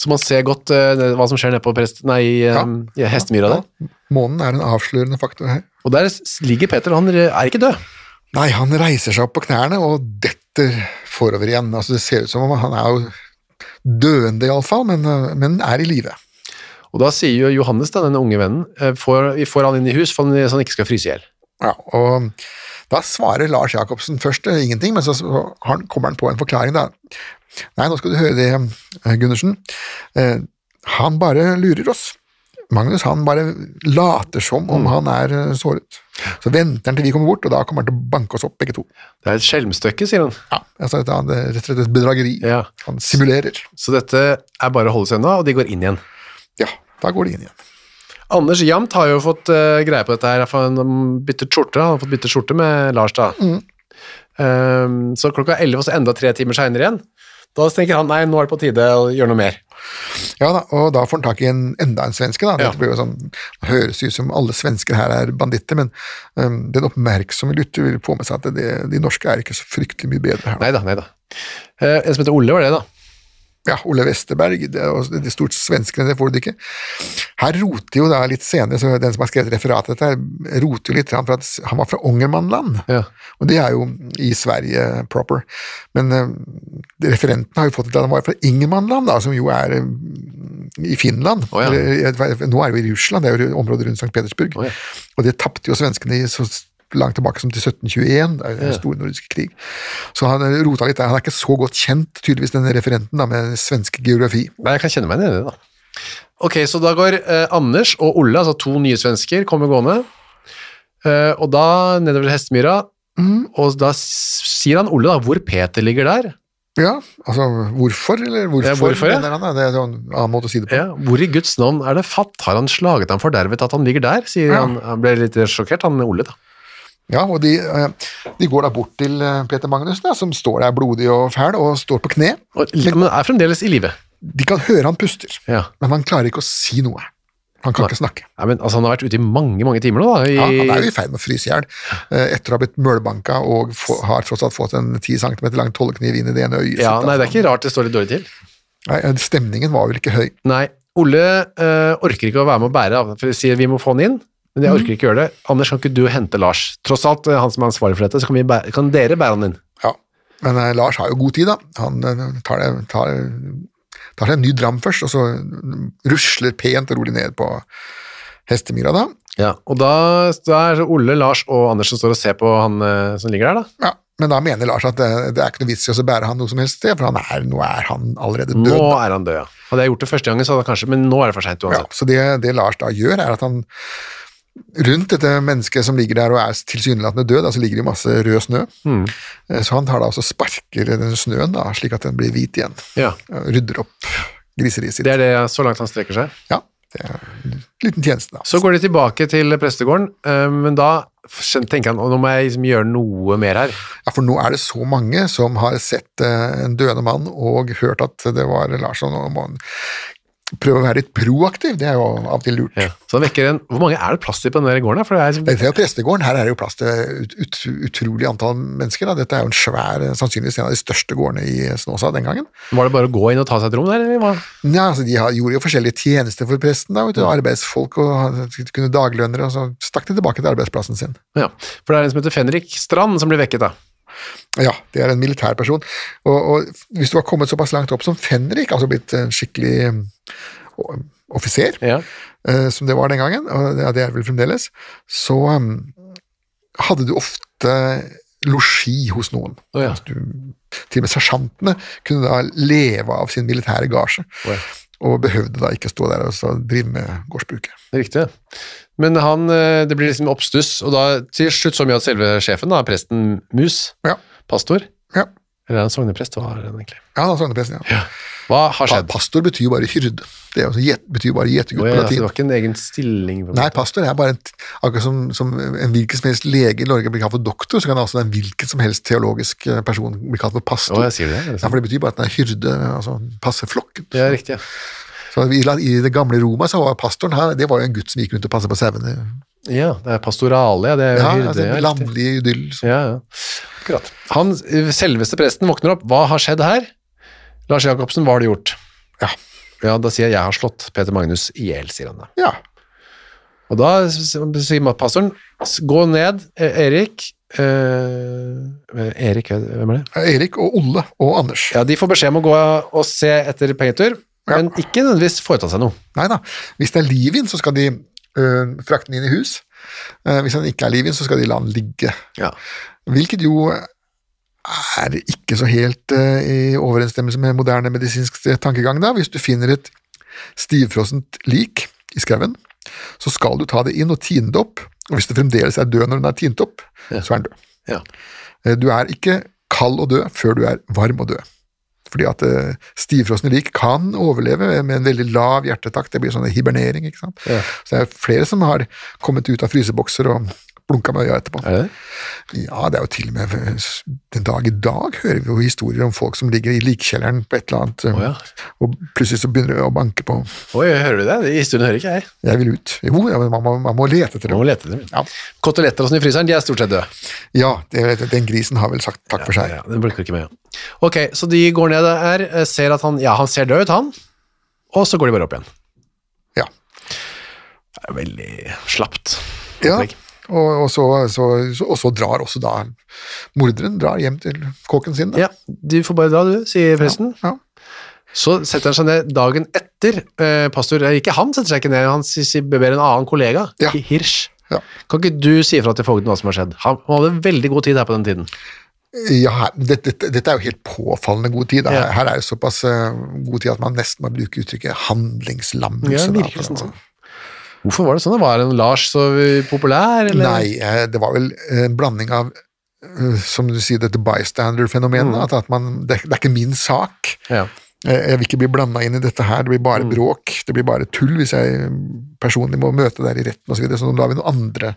Speaker 2: Så man ser godt eh, hva som skjer nede på prest... Nei, eh, i hestemyra der.
Speaker 3: Månen er en avslørende faktor her.
Speaker 2: Og der s- ligger Peter, han eh, er ikke død.
Speaker 3: Nei, han reiser seg opp på knærne og detter forover igjen. Altså, det ser ut som om han er jo døende, iallfall, men, men er i live.
Speaker 2: Og da sier jo Johannes, da, denne unge vennen, eh, får, vi får han inn i hus for han, så han ikke skal fryse i hjel.
Speaker 3: Ja, og da svarer Lars Jacobsen først eh, ingenting, men så så har han- kommer han på en forklaring, da. Nei, nå skal du høre det, eh, Gundersen. Eh, Han bare lurer oss. Magnus han bare later som om han er eh, såret. Så venter han til vi kommer bort, og da kommer han til å banke oss opp begge to.
Speaker 2: Det er et skjelmstøkke, sier han.
Speaker 3: Ja, altså, det er rett og slett et bedrageri.
Speaker 2: Ja.
Speaker 3: Han simulerer.
Speaker 2: Så dette er bare å holde seg unna, og de går inn igjen.
Speaker 3: Ja, da går de inn igjen.
Speaker 2: Anders Jamt har jo fått eh, greie på dette her, for han har byttet skjorte, han har fått byttet skjorte med Lars da. Ehm, så klokka 11 og så enda tre timer senere igjen. Da tenker han, nei, nå er det på tide å gjøre noe mer.
Speaker 3: Ja da, Og da får han tak i en, enda en svenske. da.
Speaker 2: Ja.
Speaker 3: Dette blir jo sånn, det høres ut som alle svensker her er banditter, men øhm, den oppmerksomme lytter vil få med seg at det, de norske er ikke så fryktelig mye bedre her. da.
Speaker 2: Neida, neida. Eh, en som heter Ole var det da.
Speaker 3: Ja, Ole Westerberg, det, er også- de stort svenskene, det får du ikke. Her roter jo da litt senere, så den som har skrevet referatet dette, her, roter jo litt grann for at han var fra Ångermanland.
Speaker 2: Ja.
Speaker 3: Og det er jo i Sverige proper. Men øhm, referenten har jo fått det til at han var fra Ingermanland, da, som jo er eh, øhm, i Finland.
Speaker 2: Å, ja.
Speaker 3: Eller, jeg vet hva- nå er jo i Russland, det er jo området rundt St. Petersburg.
Speaker 2: Å, ja.
Speaker 3: Og det tapte jo svenskene i så langt tilbake som til 1721, det er jo den store nordiske krig. Så han eh, rota litt der. Han er ikke så godt kjent, tydeligvis, denne referenten da, med svensk geografi.
Speaker 2: Nei, jeg kan kjenne meg ned i det da. Ok, så da går eh, Anders og Ole, altså to nye svensker, kommer gående. Eh, og mm, da nedover til Hestemyra, og da s- sier han Ole da, hvor Peter ligger der.
Speaker 3: Ja, altså hvorfor, eller hvorfor?
Speaker 2: Ja, hvorfor, ja.
Speaker 3: mener han, da? Det er en sånn annen måte å si det på.
Speaker 2: Ja, hvor i Guds navn er det fatt? Har han slaget ham fordervet at han ligger der? sier
Speaker 3: Ja.
Speaker 2: han. Han ble litt sjokkert, han Ole, da.
Speaker 3: Ja, og de, eh, de går da bort til eh, Peter Magnussen, da, som står der blodig og fæl, og står på kne.
Speaker 2: Og, men er fremdeles i live.
Speaker 3: De kan høre han puster,
Speaker 2: Ja.
Speaker 3: men han klarer ikke å si noe. Han kan
Speaker 2: Nei.
Speaker 3: ikke snakke.
Speaker 2: Nei, men, altså, han har vært ute i mange, mange timer nå, da. I,
Speaker 3: Ja, han er jo i ferd med å fryse i hjel eh, etter å ha blitt mølbanka og få, har tross alt fått en 10 cm lang tollekniv inn i det ene øyet.
Speaker 2: Ja,
Speaker 3: sitt,
Speaker 2: nei, det er
Speaker 3: altså.
Speaker 2: ikke rart det står litt dårlig til.
Speaker 3: Nei, eh, Stemningen var vel ikke høy.
Speaker 2: Nei, Ole eh, orker ikke å være med å bære, av- for de sier vi må få han inn, men jeg orker ikke gjøre det. Anders, kan ikke du hente Lars? Tross alt, eh, han som er ansvarlig for dette, så kan, vi bære, kan dere bære han inn.
Speaker 3: Ja, men eh, Lars har jo god tid da. Han eh, tar, det, tar, tar seg en ny dram først, og så rusler pent og rolig ned på hestemyra da.
Speaker 2: Ja, og da, da er det Ole, Lars og Anders som står og ser på han eh, som ligger der, da.
Speaker 3: Ja, men da mener Lars at det, det er ikke noe vits i å så bære han noe som helst sted, for han er, nå er han allerede
Speaker 2: Nå
Speaker 3: død.
Speaker 2: er han død, ja. Hadde jeg gjort det første gangen, så hadde jeg kanskje, men nå er det for seint
Speaker 3: Ja,
Speaker 2: uansett.
Speaker 3: så det, det Lars da gjør, er at han rundt dette mennesket som ligger der og er tilsynelatende død, da, så ligger det jo masse rød snø.
Speaker 2: Mm.
Speaker 3: Eh, Så han tar da også sparker den snøen da, slik at den blir hvit igjen.
Speaker 2: Ja.
Speaker 3: Ja, Rydder opp griseriet sitt.
Speaker 2: Det er det så langt han strekker seg.
Speaker 3: Ja, det er en liten tjeneste da.
Speaker 2: Så går de tilbake til prestegården, eh, men da skjøn- tenker han, «Å, nå må jeg liksom gjøre noe mer her.
Speaker 3: Ja, for nå er det så mange som har sett eh, en døende mann og hørt at det var Larsson, og må prøve å være litt proaktiv, det er jo av og til lurt.
Speaker 2: Ja. Så han vekker en, hvor mange er det plass til på den der gården? da? For det er, liksom-
Speaker 3: Dette er jo prestegården, her er det jo plass til ut, ut, utrolig antall mennesker. Da. Dette er jo en svær, eh, sannsynligvis en av de største gårdene i Snåsa den gangen.
Speaker 2: Var det bare å gå inn og ta seg et rom der, eller hva?
Speaker 3: Ja, altså, de har, gjorde jo forskjellige tjenester for presten, da, vet du, arbeidsfolk og kunne daglønnere, og så stakk de tilbake til arbeidsplassen sin.
Speaker 2: Ja, for det er en som heter Fenrik Strand som blir vekket da.
Speaker 3: Ja, det er en militær person. Og, og hvis du har kommet såpass langt opp som Fenrik, altså blitt en skikkelig eh, offiser,
Speaker 2: Ja.
Speaker 3: eh, som det var den gangen, og det- ja, det er det vel fremdeles, så um, hadde du ofte losji hos noen.
Speaker 2: Å, ja.
Speaker 3: Altså, du, til og med sersjantene kunne da leve av sin militære gasje,
Speaker 2: ja.
Speaker 3: og behøvde da ikke stå der og så drive med gårdsbruket.
Speaker 2: Det er riktig. Men han, eh, det blir liksom oppstuss, og da til slutt så mye at selve sjefen da, presten Mus,
Speaker 3: Ja.
Speaker 2: pastor,
Speaker 3: Ja,
Speaker 2: eller er han sogneprest, hva er han egentlig?
Speaker 3: ja da sognepresten, ja.
Speaker 2: Hva har
Speaker 3: Pa-
Speaker 2: skjedd?
Speaker 3: Pastor betyr jo bare hyrde. Det er jo så gjet- betyr jo bare gjetegutt
Speaker 2: Å,
Speaker 3: på
Speaker 2: ja, så det
Speaker 3: latin.
Speaker 2: var ikke en egen stilling. på en
Speaker 3: Nei,
Speaker 2: måte.
Speaker 3: pastor er bare en, t- akkurat som, som en hvilken som helst lege i Norge blir kalt for doktor, så kan altså en hvilken som helst teologisk eh, person bli kalt for pastor.
Speaker 2: Å, jeg sier det. er det
Speaker 3: Ja,
Speaker 2: sant?
Speaker 3: for det betyr bare at den er hyrde, altså han passer flokken.
Speaker 2: Ja, riktig. ja.
Speaker 3: Så i, la- I det gamle Roma så var pastoren her, det var jo en gutt som gikk rundt og passet på sauene.
Speaker 2: Ja, det er pastorale, ja, det er jo
Speaker 3: Ja,
Speaker 2: hyrde.
Speaker 3: altså,
Speaker 2: ja,
Speaker 3: en
Speaker 2: riktig.
Speaker 3: landlig idyll. Så.
Speaker 2: Ja, ja. Akkurat. Han, eh, selveste presten våkner opp. Hva har skjedd her? Lars Jacobsen, hva har du gjort?
Speaker 3: Ja.
Speaker 2: Ja, da sier jeg jeg har slått Peter Magnus i hjel, sier han da.
Speaker 3: Ja.
Speaker 2: Og da s- s- sier pastoren, "S- gå ned, eh, Erik. Eh, Erik, hvem er det?
Speaker 3: Erik og Olle og Anders.
Speaker 2: Ja, de får beskjed om å gå og se etter pengetur,
Speaker 3: Ja.
Speaker 2: men ikke nødvendigvis foreta seg noe.
Speaker 3: Nei da, hvis det er liv i den, så skal de øh, frakte den inn i hus. Eh, hvis han ikke er liv i den, så skal de la den ligge.
Speaker 2: Ja.
Speaker 3: Hvilket jo er ikke så helt eh, i overensstemmelse med moderne medisinsk tankegang. da. Hvis du finner et stivfrossent lik i skauen, så skal du ta det inn og tine det opp. Og hvis det fremdeles er død når den er tint opp, så er den død.
Speaker 2: Ja.
Speaker 3: Eh, Du er ikke kald og død før du er varm og død. Fordi at eh, stivfrosne lik kan overleve med en veldig lav hjertetakt. Det blir sånn hibernering. ikke sant?
Speaker 2: Ja.
Speaker 3: Så det er flere som har kommet ut av frysebokser og blunka med øya etterpå.
Speaker 2: Er det det?
Speaker 3: Ja, det er jo til og med eh, den dag i dag hører vi jo historier om folk som ligger i likkjelleren på et eller annet, eh,
Speaker 2: Å, ja.
Speaker 3: og plutselig så begynner det å banke på.
Speaker 2: Oi, hører du det? I stunden hører ikke jeg.
Speaker 3: Jeg vil ut. Jo, ja, men man må, man må lete
Speaker 2: Jeg
Speaker 3: etter dem.
Speaker 2: må lete etter dem.
Speaker 3: Ja,
Speaker 2: Koteletter og sånn i fryseren, de er stort sett døde.
Speaker 3: ja det, den grisen har vel sagt takk for seg.
Speaker 2: Ja, den blinker ikke med, ja. Ok, så de går ned der, eh, ser at han, ja, han ser død ut, han, og så går de bare opp igjen.
Speaker 3: Ja.
Speaker 2: Det er veldig slappt.
Speaker 3: Ja,
Speaker 2: opplegg.
Speaker 3: og, og, så, så, så, og så drar også da morderen drar hjem til kåken sin. Da.
Speaker 2: Ja, du får bare dra, du, sier presten.
Speaker 3: Ja.
Speaker 2: Så setter han seg ned dagen etter, eh, pastor, eh, ikke han setter seg ikke ned, han si- si- ber en annen kollega,
Speaker 3: Ja.
Speaker 2: Hirsch.
Speaker 3: Ja.
Speaker 2: Kan ikke du si ifra til fogden hva som har skjedd? Han, han hadde veldig god tid her på den tiden.
Speaker 3: Ja, her- dette, dette, dette er jo helt påfallende god tid. Da.
Speaker 2: Ja.
Speaker 3: Her er det såpass eh, god tid at man nesten må bruke uttrykket handlingslammelse.
Speaker 2: Ja, det
Speaker 3: da,
Speaker 2: virker
Speaker 3: for å-
Speaker 2: nesten sånn. Hvorfor var det sånn? da? Var han Lars så eh, populær? Eller?
Speaker 3: Nei, eh, det var vel en blanding av eh, som du sier, dette bystander-fenomenet. At, at man, det, er- det er ikke min sak.
Speaker 2: Ja.
Speaker 3: Eh, Jeg vil ikke bli blanda inn i dette her, det blir bare bråk, det blir bare tull hvis jeg personlig må møte der i retten osv. Så, videre. så da vil noen andre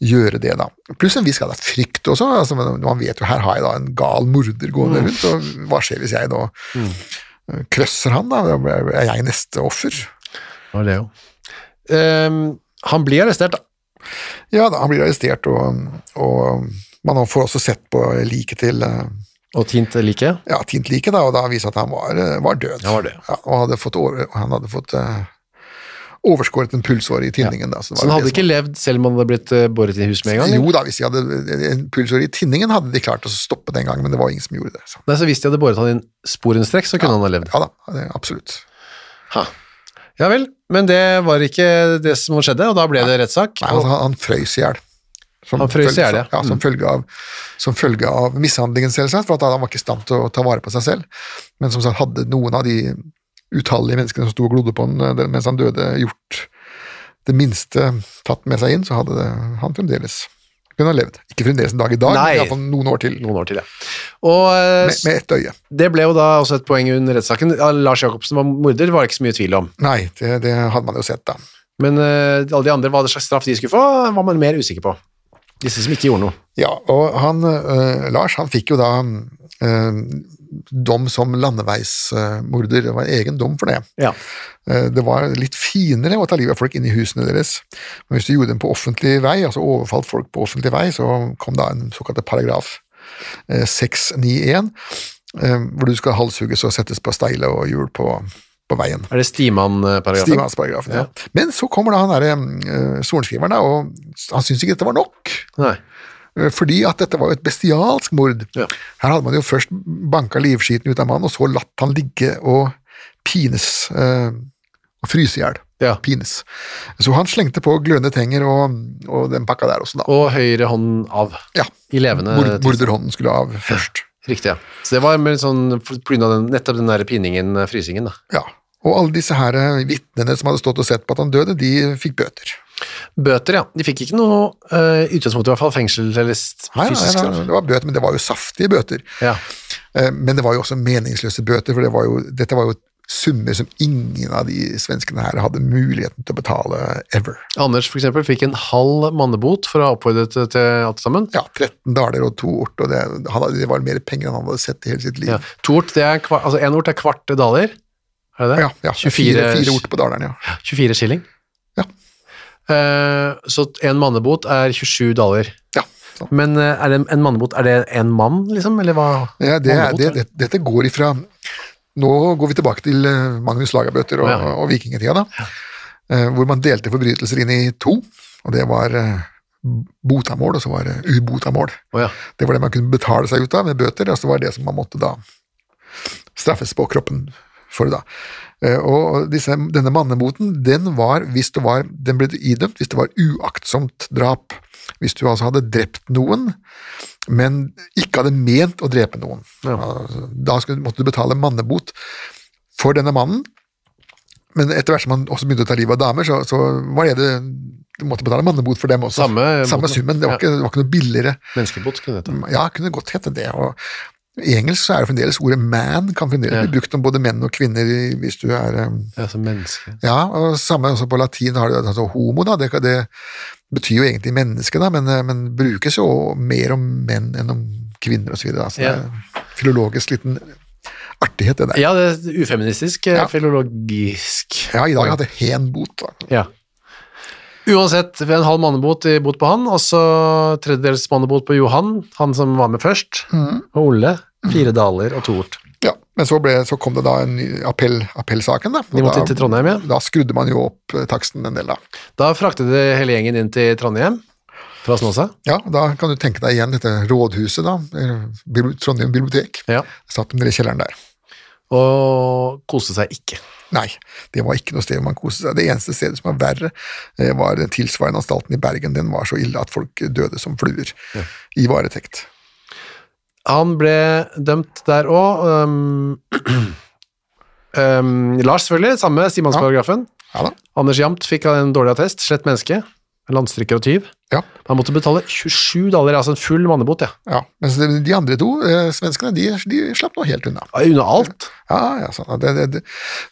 Speaker 3: gjøre det, da. Pluss en viss grad av frykt også. Altså, men man vet jo her har jeg da en gal morder gående rundt, og hva skjer hvis jeg da eh, krøsser han, da? Da Er jeg neste offer?
Speaker 2: Det var det jo. Ehm, han blir arrestert, da.
Speaker 3: Ja da, han blir arrestert, og, og um, man får også sett på liket til eh,
Speaker 2: Og tint like.
Speaker 3: ja, tint liket, da, og da viser det at han var, eh, var død.
Speaker 2: Han var død.
Speaker 3: Ja, og hadde fått over, han hadde fått eh, overskåret en pulsåre i tinningen. Da,
Speaker 2: Så han hadde ikke levd selv om han hadde blitt eh, båret i hus med en gang? eller?
Speaker 3: Jo da, hvis de hadde en pulsåre i tinningen, hadde de klart å stoppe den gangen, men det var ingen som gjorde det. Så.
Speaker 2: Nei, så Hvis de hadde båret han inn sporenstreks, så kunne han ha levd.
Speaker 3: Ja da, det, absolutt.
Speaker 2: Ja vel, men det var ikke det som skjedde, og da ble det rettssak.
Speaker 3: Nei, altså, han, han frøys i hjel. Som
Speaker 2: Han frøys i
Speaker 3: følge-
Speaker 2: hjel, ja.
Speaker 3: ja. Som,
Speaker 2: Mm.
Speaker 3: følge av, som følge av mishandlingen, selvsagt, for at han var ikke i stand til å ta vare på seg selv. Men som sagt, hadde noen av de utallige menneskene som sto og glodde på han eh, mens han døde, gjort det minste tatt med seg inn, så hadde det, han fremdeles kunne ha levd. Ikke fremdeles en dag i dag,
Speaker 2: Nei.
Speaker 3: men iallfall noen år til.
Speaker 2: Noen år til, ja. Og eh,
Speaker 3: Med, med ett øye.
Speaker 2: det ble jo da også et poeng under rettssaken. Ja, Lars Jacobsen var morder, var det ikke så mye tvil om.
Speaker 3: Nei, det, det hadde man jo sett, da.
Speaker 2: Men eh, alle de andre, hva slags straff de skulle få, var man mer usikker på. Disse som ikke gjorde noe.
Speaker 3: Ja, og han, eh, Lars han fikk jo da eh, dom som landeveismorder. Det var en egen dom for det.
Speaker 2: Ja.
Speaker 3: Eh, det var litt finere å ta livet av folk inni husene deres, men hvis du gjorde dem på offentlig vei, altså overfalt folk på offentlig vei, så kom da en såkalt paragraf eh, 691, eh, hvor du skal halshugges og settes på steile og hjul på, på veien.
Speaker 2: Er det Stiman-paragrafen?
Speaker 3: Stivhandsparagrafen, ja. Men så kommer da han derre eh, sorenskriveren, da, og han syns ikke dette var nok.
Speaker 2: Nei.
Speaker 3: Eh, Fordi at dette var jo et bestialsk mord.
Speaker 2: Ja.
Speaker 3: Her hadde man jo først banka livskiten ut av mannen, og så latt han ligge og pines. eh, og fryse i hjel.
Speaker 2: Ja.
Speaker 3: Pines. Så han slengte på glødende tenger og, og den pakka der også, da.
Speaker 2: Og høyre hånd av.
Speaker 3: Ja.
Speaker 2: I levende
Speaker 3: Mord, morderhånden skulle av først.
Speaker 2: Riktig, ja. Så det var mer sånn pga. nettopp den der piningen, eh, frysingen, da.
Speaker 3: Ja. Og alle disse her eh, vitnene som hadde stått og sett på at han døde, de fikk bøter.
Speaker 2: Bøter, ja. De fikk ikke noe eh, i utgangspunktet, i hvert fall fengsel eller s-
Speaker 3: Nei, nei,
Speaker 2: fysisk
Speaker 3: nei,
Speaker 2: straff.
Speaker 3: det var bøter, men det var jo saftige bøter.
Speaker 2: Ja.
Speaker 3: Eh, Men det var jo også meningsløse bøter, for det var jo, dette var jo summer som ingen av de svenskene her hadde muligheten til å betale ever.
Speaker 2: Anders for eksempel fikk en halv mannebot for å ha oppfordret til til alt sammen.
Speaker 3: Ja, 13 daler og to ort, og det, han hadde, det var mer penger enn han hadde sett i hele sitt liv.
Speaker 2: Ja. Tort, det er kva, altså en ort er kvarte daler. Er det det?
Speaker 3: Ja, ja,
Speaker 2: 24,
Speaker 3: fire, fire ort på Daleren, ja.
Speaker 2: 24 skilling.
Speaker 3: Ja.
Speaker 2: Eh, så en mannebot er 27 daler.
Speaker 3: ja. sånn.
Speaker 2: Men eh, er det en- en mannebot, er det en mann, liksom? Eller hva?
Speaker 3: Ja, det, er-
Speaker 2: Mannebot,
Speaker 3: det,
Speaker 2: er
Speaker 3: det, dette går ifra Nå går vi tilbake til eh, Magnus Lagerbøter
Speaker 2: Å,
Speaker 3: og,
Speaker 2: ja.
Speaker 3: og vikingetida, da. Eh, Hvor man delte forbrytelser inn i to, og det var eh, botamål, og så var det ubotamål.
Speaker 2: Å, ja.
Speaker 3: Det var det man kunne betale seg ut av med bøter, og så var det som man måtte da straffes på kroppen for da. Eh, Og disse, denne manneboten, den var, hvis det var, den ble idømt hvis det var uaktsomt drap. Hvis du altså hadde drept noen, men ikke hadde ment å drepe noen. Altså, Da skulle, måtte du betale mannebot for denne mannen, men etter hvert som han også begynte å ta livet av damer, så, så var det det du måtte betale mannebot for dem også.
Speaker 2: Samme boten.
Speaker 3: summen, det
Speaker 2: Ja.
Speaker 3: var, ikke, det var ikke noe billigere.
Speaker 2: Menneskebot, kunne det hete.
Speaker 3: Ja, kunne godt hete det. Og I engelsk så er det fremdeles ordet 'man' kan fremdeles
Speaker 2: Ja.
Speaker 3: bli brukt om både menn og kvinner i- hvis du er um,
Speaker 2: Ja, som menneske.
Speaker 3: Ja, og samme også på latin har du altså homo, da. Det, kan- det betyr jo egentlig menneske, da, men, eh, men brukes jo mer om menn enn om kvinner osv. Så, videre, da. så
Speaker 2: Ja.
Speaker 3: det er filologisk liten artighet, det der.
Speaker 2: Ja, det er ufeministisk, eh,
Speaker 3: Ja.
Speaker 2: filologisk.
Speaker 3: Ja, i dag hadde hen bot. Da.
Speaker 2: Ja. Uansett, ved en halv mannebot i bot på han, og så tredjedels mannebot på Johan, han som var med først,
Speaker 3: Mm.
Speaker 2: og Olle. Fire daler og to ort.
Speaker 3: Ja, men så, ble, så kom det da en ny appell, appellsaken, da.
Speaker 2: De måtte
Speaker 3: da,
Speaker 2: til Trondheim, ja.
Speaker 3: Da skrudde man jo opp eh, taksten en del, da.
Speaker 2: Da fraktet de hele gjengen inn til Trondheim fra Snåsa.
Speaker 3: Ja, da kan du tenke deg igjen dette rådhuset, da. eh, bibli- Trondheim bibliotek.
Speaker 2: Ja.
Speaker 3: Satt de nede i kjelleren der.
Speaker 2: Og koste seg ikke.
Speaker 3: Nei, det var ikke noe sted man koste seg. Det eneste stedet som var verre, eh, var den tilsvarende anstalten i Bergen. Den var så ille at folk døde som fluer i varetekt.
Speaker 2: Han ble dømt der òg. øhm, øhm, Lars, selvfølgelig. Samme Simons-paragrafen.
Speaker 3: Ja da.
Speaker 2: Anders Jamt fikk en dårlig attest. Slett menneske. En landstrykker og tyv.
Speaker 3: Ja.
Speaker 2: Han måtte betale 27 dollar, altså en full mannebot, ja.
Speaker 3: ja. Mens de de andre to, eh, svenskene, de, de slapp nå helt unna.
Speaker 2: Ja, Unna alt.
Speaker 3: Ja, ja, sånn. at det, det, det,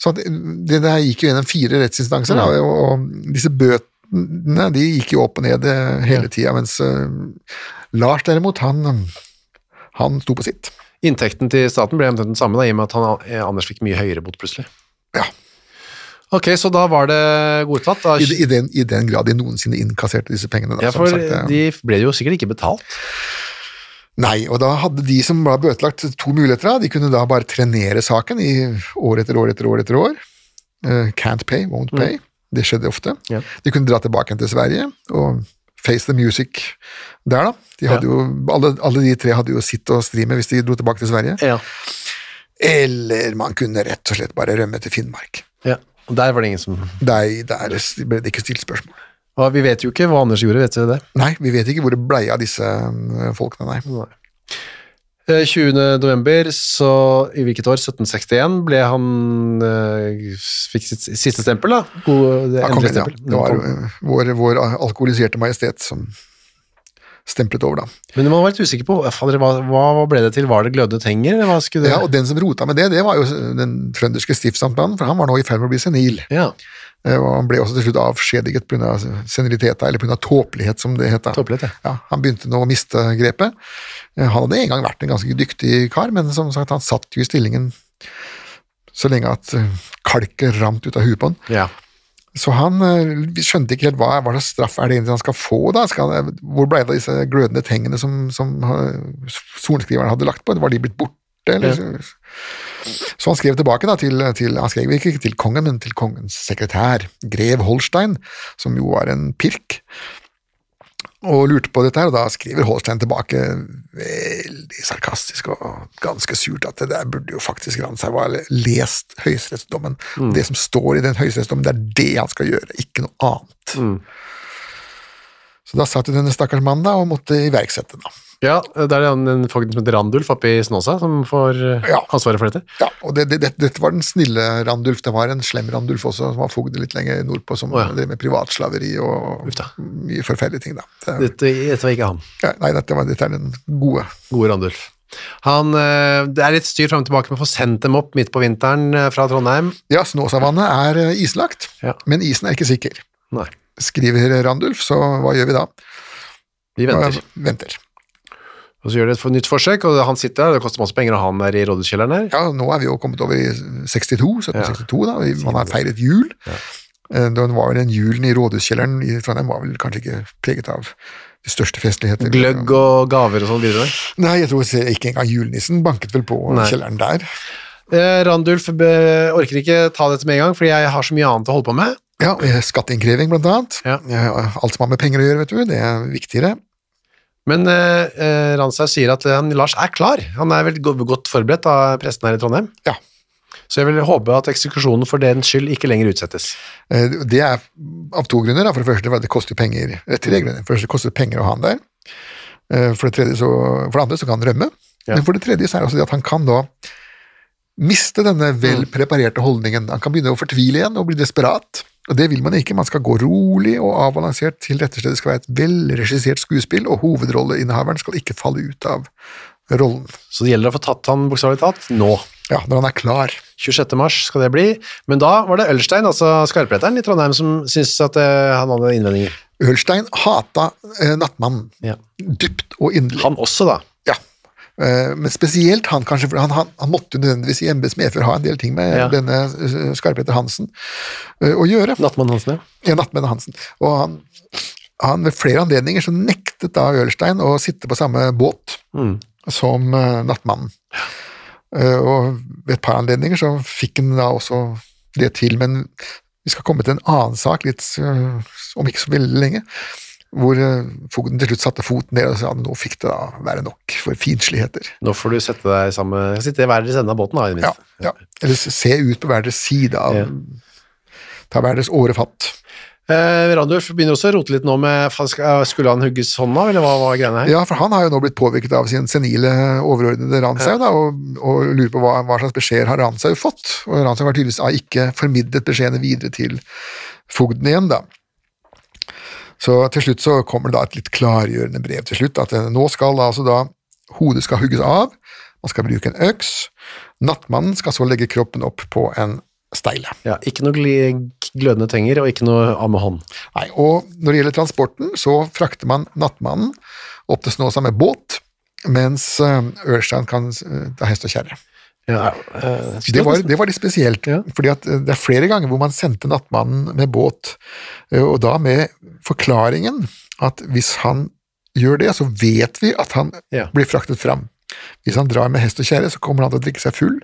Speaker 3: så at det der gikk jo gjennom fire rettsinstanser, da, og, og disse bøtene de gikk jo opp og ned eh, hele tida, mens eh, Lars derimot, han, han sto på sitt.
Speaker 2: Inntekten til staten ble omtrent den samme, da, i og med at han, eh, Anders fikk mye høyere bot plutselig.
Speaker 3: Ja.
Speaker 2: Ok, så da var det godtatt. Da.
Speaker 3: I, i, den, I den grad de noensinne innkasserte disse pengene. Da,
Speaker 2: Ja,
Speaker 3: som
Speaker 2: for
Speaker 3: sagt, eh.
Speaker 2: de ble jo sikkert ikke betalt.
Speaker 3: Nei, og da hadde de som var bøtelagt to muligheter, da. de kunne da bare trenere saken i år etter år etter år etter år. Eh, can't pay, won't pay. Det skjedde ofte.
Speaker 2: Ja.
Speaker 3: De kunne dra tilbake igjen til Sverige og face the music der, da. De hadde jo, alle, alle de tre hadde jo sitt å stri med hvis de dro tilbake til Sverige.
Speaker 2: Ja.
Speaker 3: Eller man kunne rett og slett bare rømme til Finnmark.
Speaker 2: Og der var det ingen som...
Speaker 3: Nei, der ble det ikke stilt spørsmål.
Speaker 2: Hva- Vi vet jo ikke hva Anders gjorde, vet dere det?
Speaker 3: Nei, vi vet ikke hvor det blei av disse eh, folkene, nei.
Speaker 2: Eh, 20. november, så i hvilket år? 1761 ble han eh, fikk sitt siste stempel, da. God, det
Speaker 3: Ja, kongen,
Speaker 2: endelige
Speaker 3: ja.
Speaker 2: stempel.
Speaker 3: Det var eh, vår, vår alkoholiserte majestet som stemplet over, da.
Speaker 2: Men man var litt usikker på fader, hva, hva ble det til? Var det glødet henger, eller hva skulle det
Speaker 3: Ja, og den som rota med det, det var jo den trønderske stiftsamtmannen, for han var nå i ferd med å bli senil.
Speaker 2: Ja,
Speaker 3: Eh, Og han ble også til slutt avskjediget pga. seniliteta, eller pga. tåpelighet, som det het. da.
Speaker 2: Tåpelighet, ja.
Speaker 3: han begynte nå å miste grepet. Eh, Han hadde en gang vært en ganske dyktig kar, men som sagt, han satt jo i stillingen så lenge at eh, kalket rant ut av huet på han.
Speaker 2: ja.
Speaker 3: Så han eh, vi skjønte ikke helt hva, hva slags straff er det egentlig han skal få, da? Skal han, eh, hvor ble det av disse glødende tengene som, som eh, sorenskriveren hadde lagt på? Var de blitt borte? Eller? Så han skrev tilbake da, til, til Han skrev ikke til kongen, men til kongens sekretær, grev Holstein, som jo var en pirk, og lurte på dette her. Og da skriver Holstein tilbake veldig sarkastisk og ganske surt at det der burde jo faktisk Ransheim ha lest høyesterettsdommen.
Speaker 2: Mm.
Speaker 3: Det som står i den høyesterettsdommen, det er det han skal gjøre, ikke noe annet.
Speaker 2: Mm.
Speaker 3: Så da satt jo denne stakkars mannen da og måtte iverksette, da.
Speaker 2: ja det er en, en fogden som heter Randulf oppe i Snåsa som får eh,
Speaker 3: Ja.
Speaker 2: ansvaret for dette.
Speaker 3: Ja, og det, det, det, dette var den snille Randulf. Det var en slem Randulf også, som var fogd litt lenger nordpå, som
Speaker 2: Å, ja.
Speaker 3: drev med privatslaveri og
Speaker 2: Uff da.
Speaker 3: mye forferdelige ting, da. Det,
Speaker 2: Dette, dette var ikke han.
Speaker 3: ja, nei, dette, var, dette er den gode.
Speaker 2: Gode Randulf. Han, eh, det er litt styr fram og tilbake med å få sendt dem opp midt på vinteren eh, fra Trondheim.
Speaker 3: Ja, Snåsavannet er eh, islagt,
Speaker 2: Ja.
Speaker 3: men isen er ikke sikker.
Speaker 2: Nei,
Speaker 3: Skriver Randulf, så hva gjør vi da?
Speaker 2: vi venter.
Speaker 3: Ja, venter.
Speaker 2: Og så gjør de et for- nytt forsøk, og han sitter der, det koster masse penger, og han er i rådhuskjelleren her.
Speaker 3: Ja, nå er vi jo kommet over i 62, 1762 da, og man har feiret jul. Eh, Da var vel den julen i rådhuskjelleren i Trondheim var vel kanskje ikke preget av de største festligheter.
Speaker 2: Gløgg og gaver og sånn videre.
Speaker 3: Nei, jeg tror ikke engang julenissen banket vel på
Speaker 2: Nei.
Speaker 3: kjelleren der.
Speaker 2: Eh, Randulf be, orker ikke ta dette med en gang, fordi jeg har så mye annet å holde på med.
Speaker 3: Ja, eh, Skatteinnkreving, blant annet.
Speaker 2: Ja.
Speaker 3: Eh, Alt som har med penger å gjøre, vet du, det er viktigere.
Speaker 2: Men eh, eh, Ranshaug sier at eh, han, Lars er klar. Han er vel go- godt forberedt av presten her i Trondheim.
Speaker 3: Ja.
Speaker 2: Så jeg vil håpe at eksekusjonen for den skyld ikke lenger utsettes.
Speaker 3: Eh, Det er av to grunner. da. For det første for at det koster penger. eh,
Speaker 2: Mm.
Speaker 3: Tre grunner. For det første koster det penger å ha han der. Eh, For det, tredje så, for det andre så kan han rømme.
Speaker 2: Ja.
Speaker 3: Men for det tredje så er det også det at han kan da miste denne
Speaker 2: Mm.
Speaker 3: vel preparerte holdningen. Han kan begynne å fortvile igjen og bli desperat. Og det vil man ikke. Man skal gå rolig og avbalansert til rett og slett det skal være et velregissert skuespill, og hovedrolleinnehaveren skal ikke falle ut av rollen.
Speaker 2: Så det gjelder å få tatt han bokstavelig talt nå.
Speaker 3: Ja, når han er klar.
Speaker 2: 26. mars skal det bli. Men da var det Ølstein, altså skarpretteren i Trondheim, som syntes at eh, han hadde innvendinger.
Speaker 3: Ølstein hata eh, nattmannen.
Speaker 2: Ja.
Speaker 3: Dypt og inderlig.
Speaker 2: Han også, da.
Speaker 3: Ja. Eh, Men spesielt han, kanskje, for han, han, han måtte jo nødvendigvis i embets medfør ha en del ting med
Speaker 2: Ja.
Speaker 3: denne eh, Skarpeter Hansen eh, å gjøre.
Speaker 2: Nattmann Hansen, ja.
Speaker 3: Ja, Nattmenn Hansen. Og han, han ved flere anledninger så nektet da Ørstein å sitte på samme båt som eh, Nattmannen. Eh, og ved et par anledninger så fikk han da også det til, men vi skal komme til en annen sak litt eh, om ikke så veldig lenge. Hvor eh, fogden til slutt satte foten ned og sa at nå fikk det da være nok for finsligheter.
Speaker 2: Nå får du sette deg sammen Sitte i hver deres ende av båten, da. i det
Speaker 3: Ja,
Speaker 2: minste.
Speaker 3: ja. Eller se ut på hver deres side av
Speaker 2: Ja.
Speaker 3: Ta hver deres årefatt.
Speaker 2: Eh, Randulf begynner også å rote litt nå med faen, skal- eh, Skulle han hugges hånda, eller hva var greiene her?
Speaker 3: Ja, for han har jo nå blitt påvirket av sin senile overordnede Ranshaug, da, og, og lurer på hva, hva slags beskjeder har Ranshaug fått. Og Ranshaug har ah, tydeligvis da ikke formidlet beskjedene videre til fogden igjen, da. Så til slutt så kommer det da et litt klargjørende brev til slutt, at eh, nå skal da, altså da hodet skal hugges av, man skal bruke en øks, nattmannen skal så legge kroppen opp på en steile.
Speaker 2: Ja, ikke noe gl- glødende tenger, og ikke noe av med hånd.
Speaker 3: Nei, og når det gjelder transporten, så frakter man nattmannen opp til Snåsa med båt, mens eh, Ørstein kan eh, ta hest og kjerre.
Speaker 2: Ja, eh,
Speaker 3: Det var, det var litt spesielt,
Speaker 2: Ja.
Speaker 3: fordi at eh, det er flere ganger hvor man sendte nattmannen med båt, eh, og da med forklaringen at hvis han gjør det, så vet vi at han
Speaker 2: Ja.
Speaker 3: blir fraktet fram. Hvis han drar med hest og kjerre, så kommer han til å drikke seg full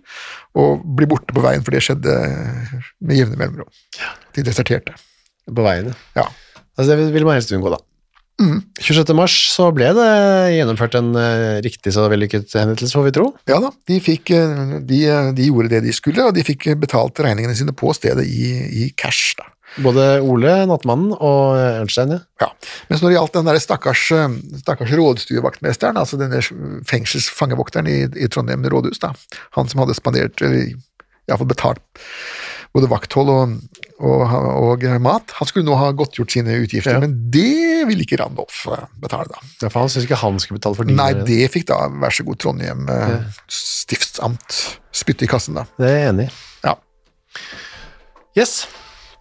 Speaker 3: og bli borte på veien, for det skjedde eh, med jevne mellomrom. De deserterte.
Speaker 2: på veien, ja.
Speaker 3: Ja.
Speaker 2: Altså, det vil man helst unngå, da.
Speaker 3: Mm.
Speaker 2: 26. mars så ble det gjennomført en eh, riktig så vellykket henrettelse, får vi tro.
Speaker 3: Ja da, de, fikk, eh, de, de gjorde det de skulle, og de fikk betalt regningene sine på stedet i, i cash. da.
Speaker 2: Både Ole, nattmannen, og eh, Ørnstein, ja.
Speaker 3: Ja. Mens når det gjaldt den der stakkars, eh, stakkars rådstuevaktmesteren, altså denne fengselsfangevokteren i, i Trondheim rådhus, da. han som hadde eh, spandert, eller iallfall betalt både vakthold og, og, og mat, han skulle nå ha godtgjort sine utgifter,
Speaker 2: Ja.
Speaker 3: men det ville ikke Randolf eh, betale, da.
Speaker 2: Ja, for han synes ikke han skulle betale for dine.
Speaker 3: Nei, det fikk da vær så god Trondheim eh, stiftsamt spytte i kassen, da.
Speaker 2: Det er jeg enig i.
Speaker 3: Ja,
Speaker 2: Yes,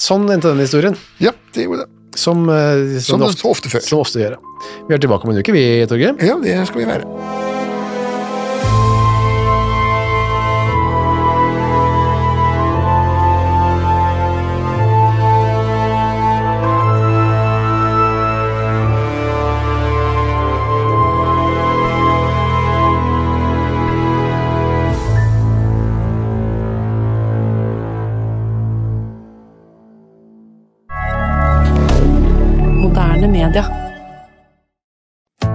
Speaker 2: sånn endte den historien.
Speaker 3: ja det gjorde det.
Speaker 2: Som, eh,
Speaker 3: Som
Speaker 2: det
Speaker 3: så ofte før.
Speaker 2: Som ofte gjør, ja. Vi er tilbake om en uke, vi, Torgeir.
Speaker 3: Ja, det skal vi være.
Speaker 4: Moderne media.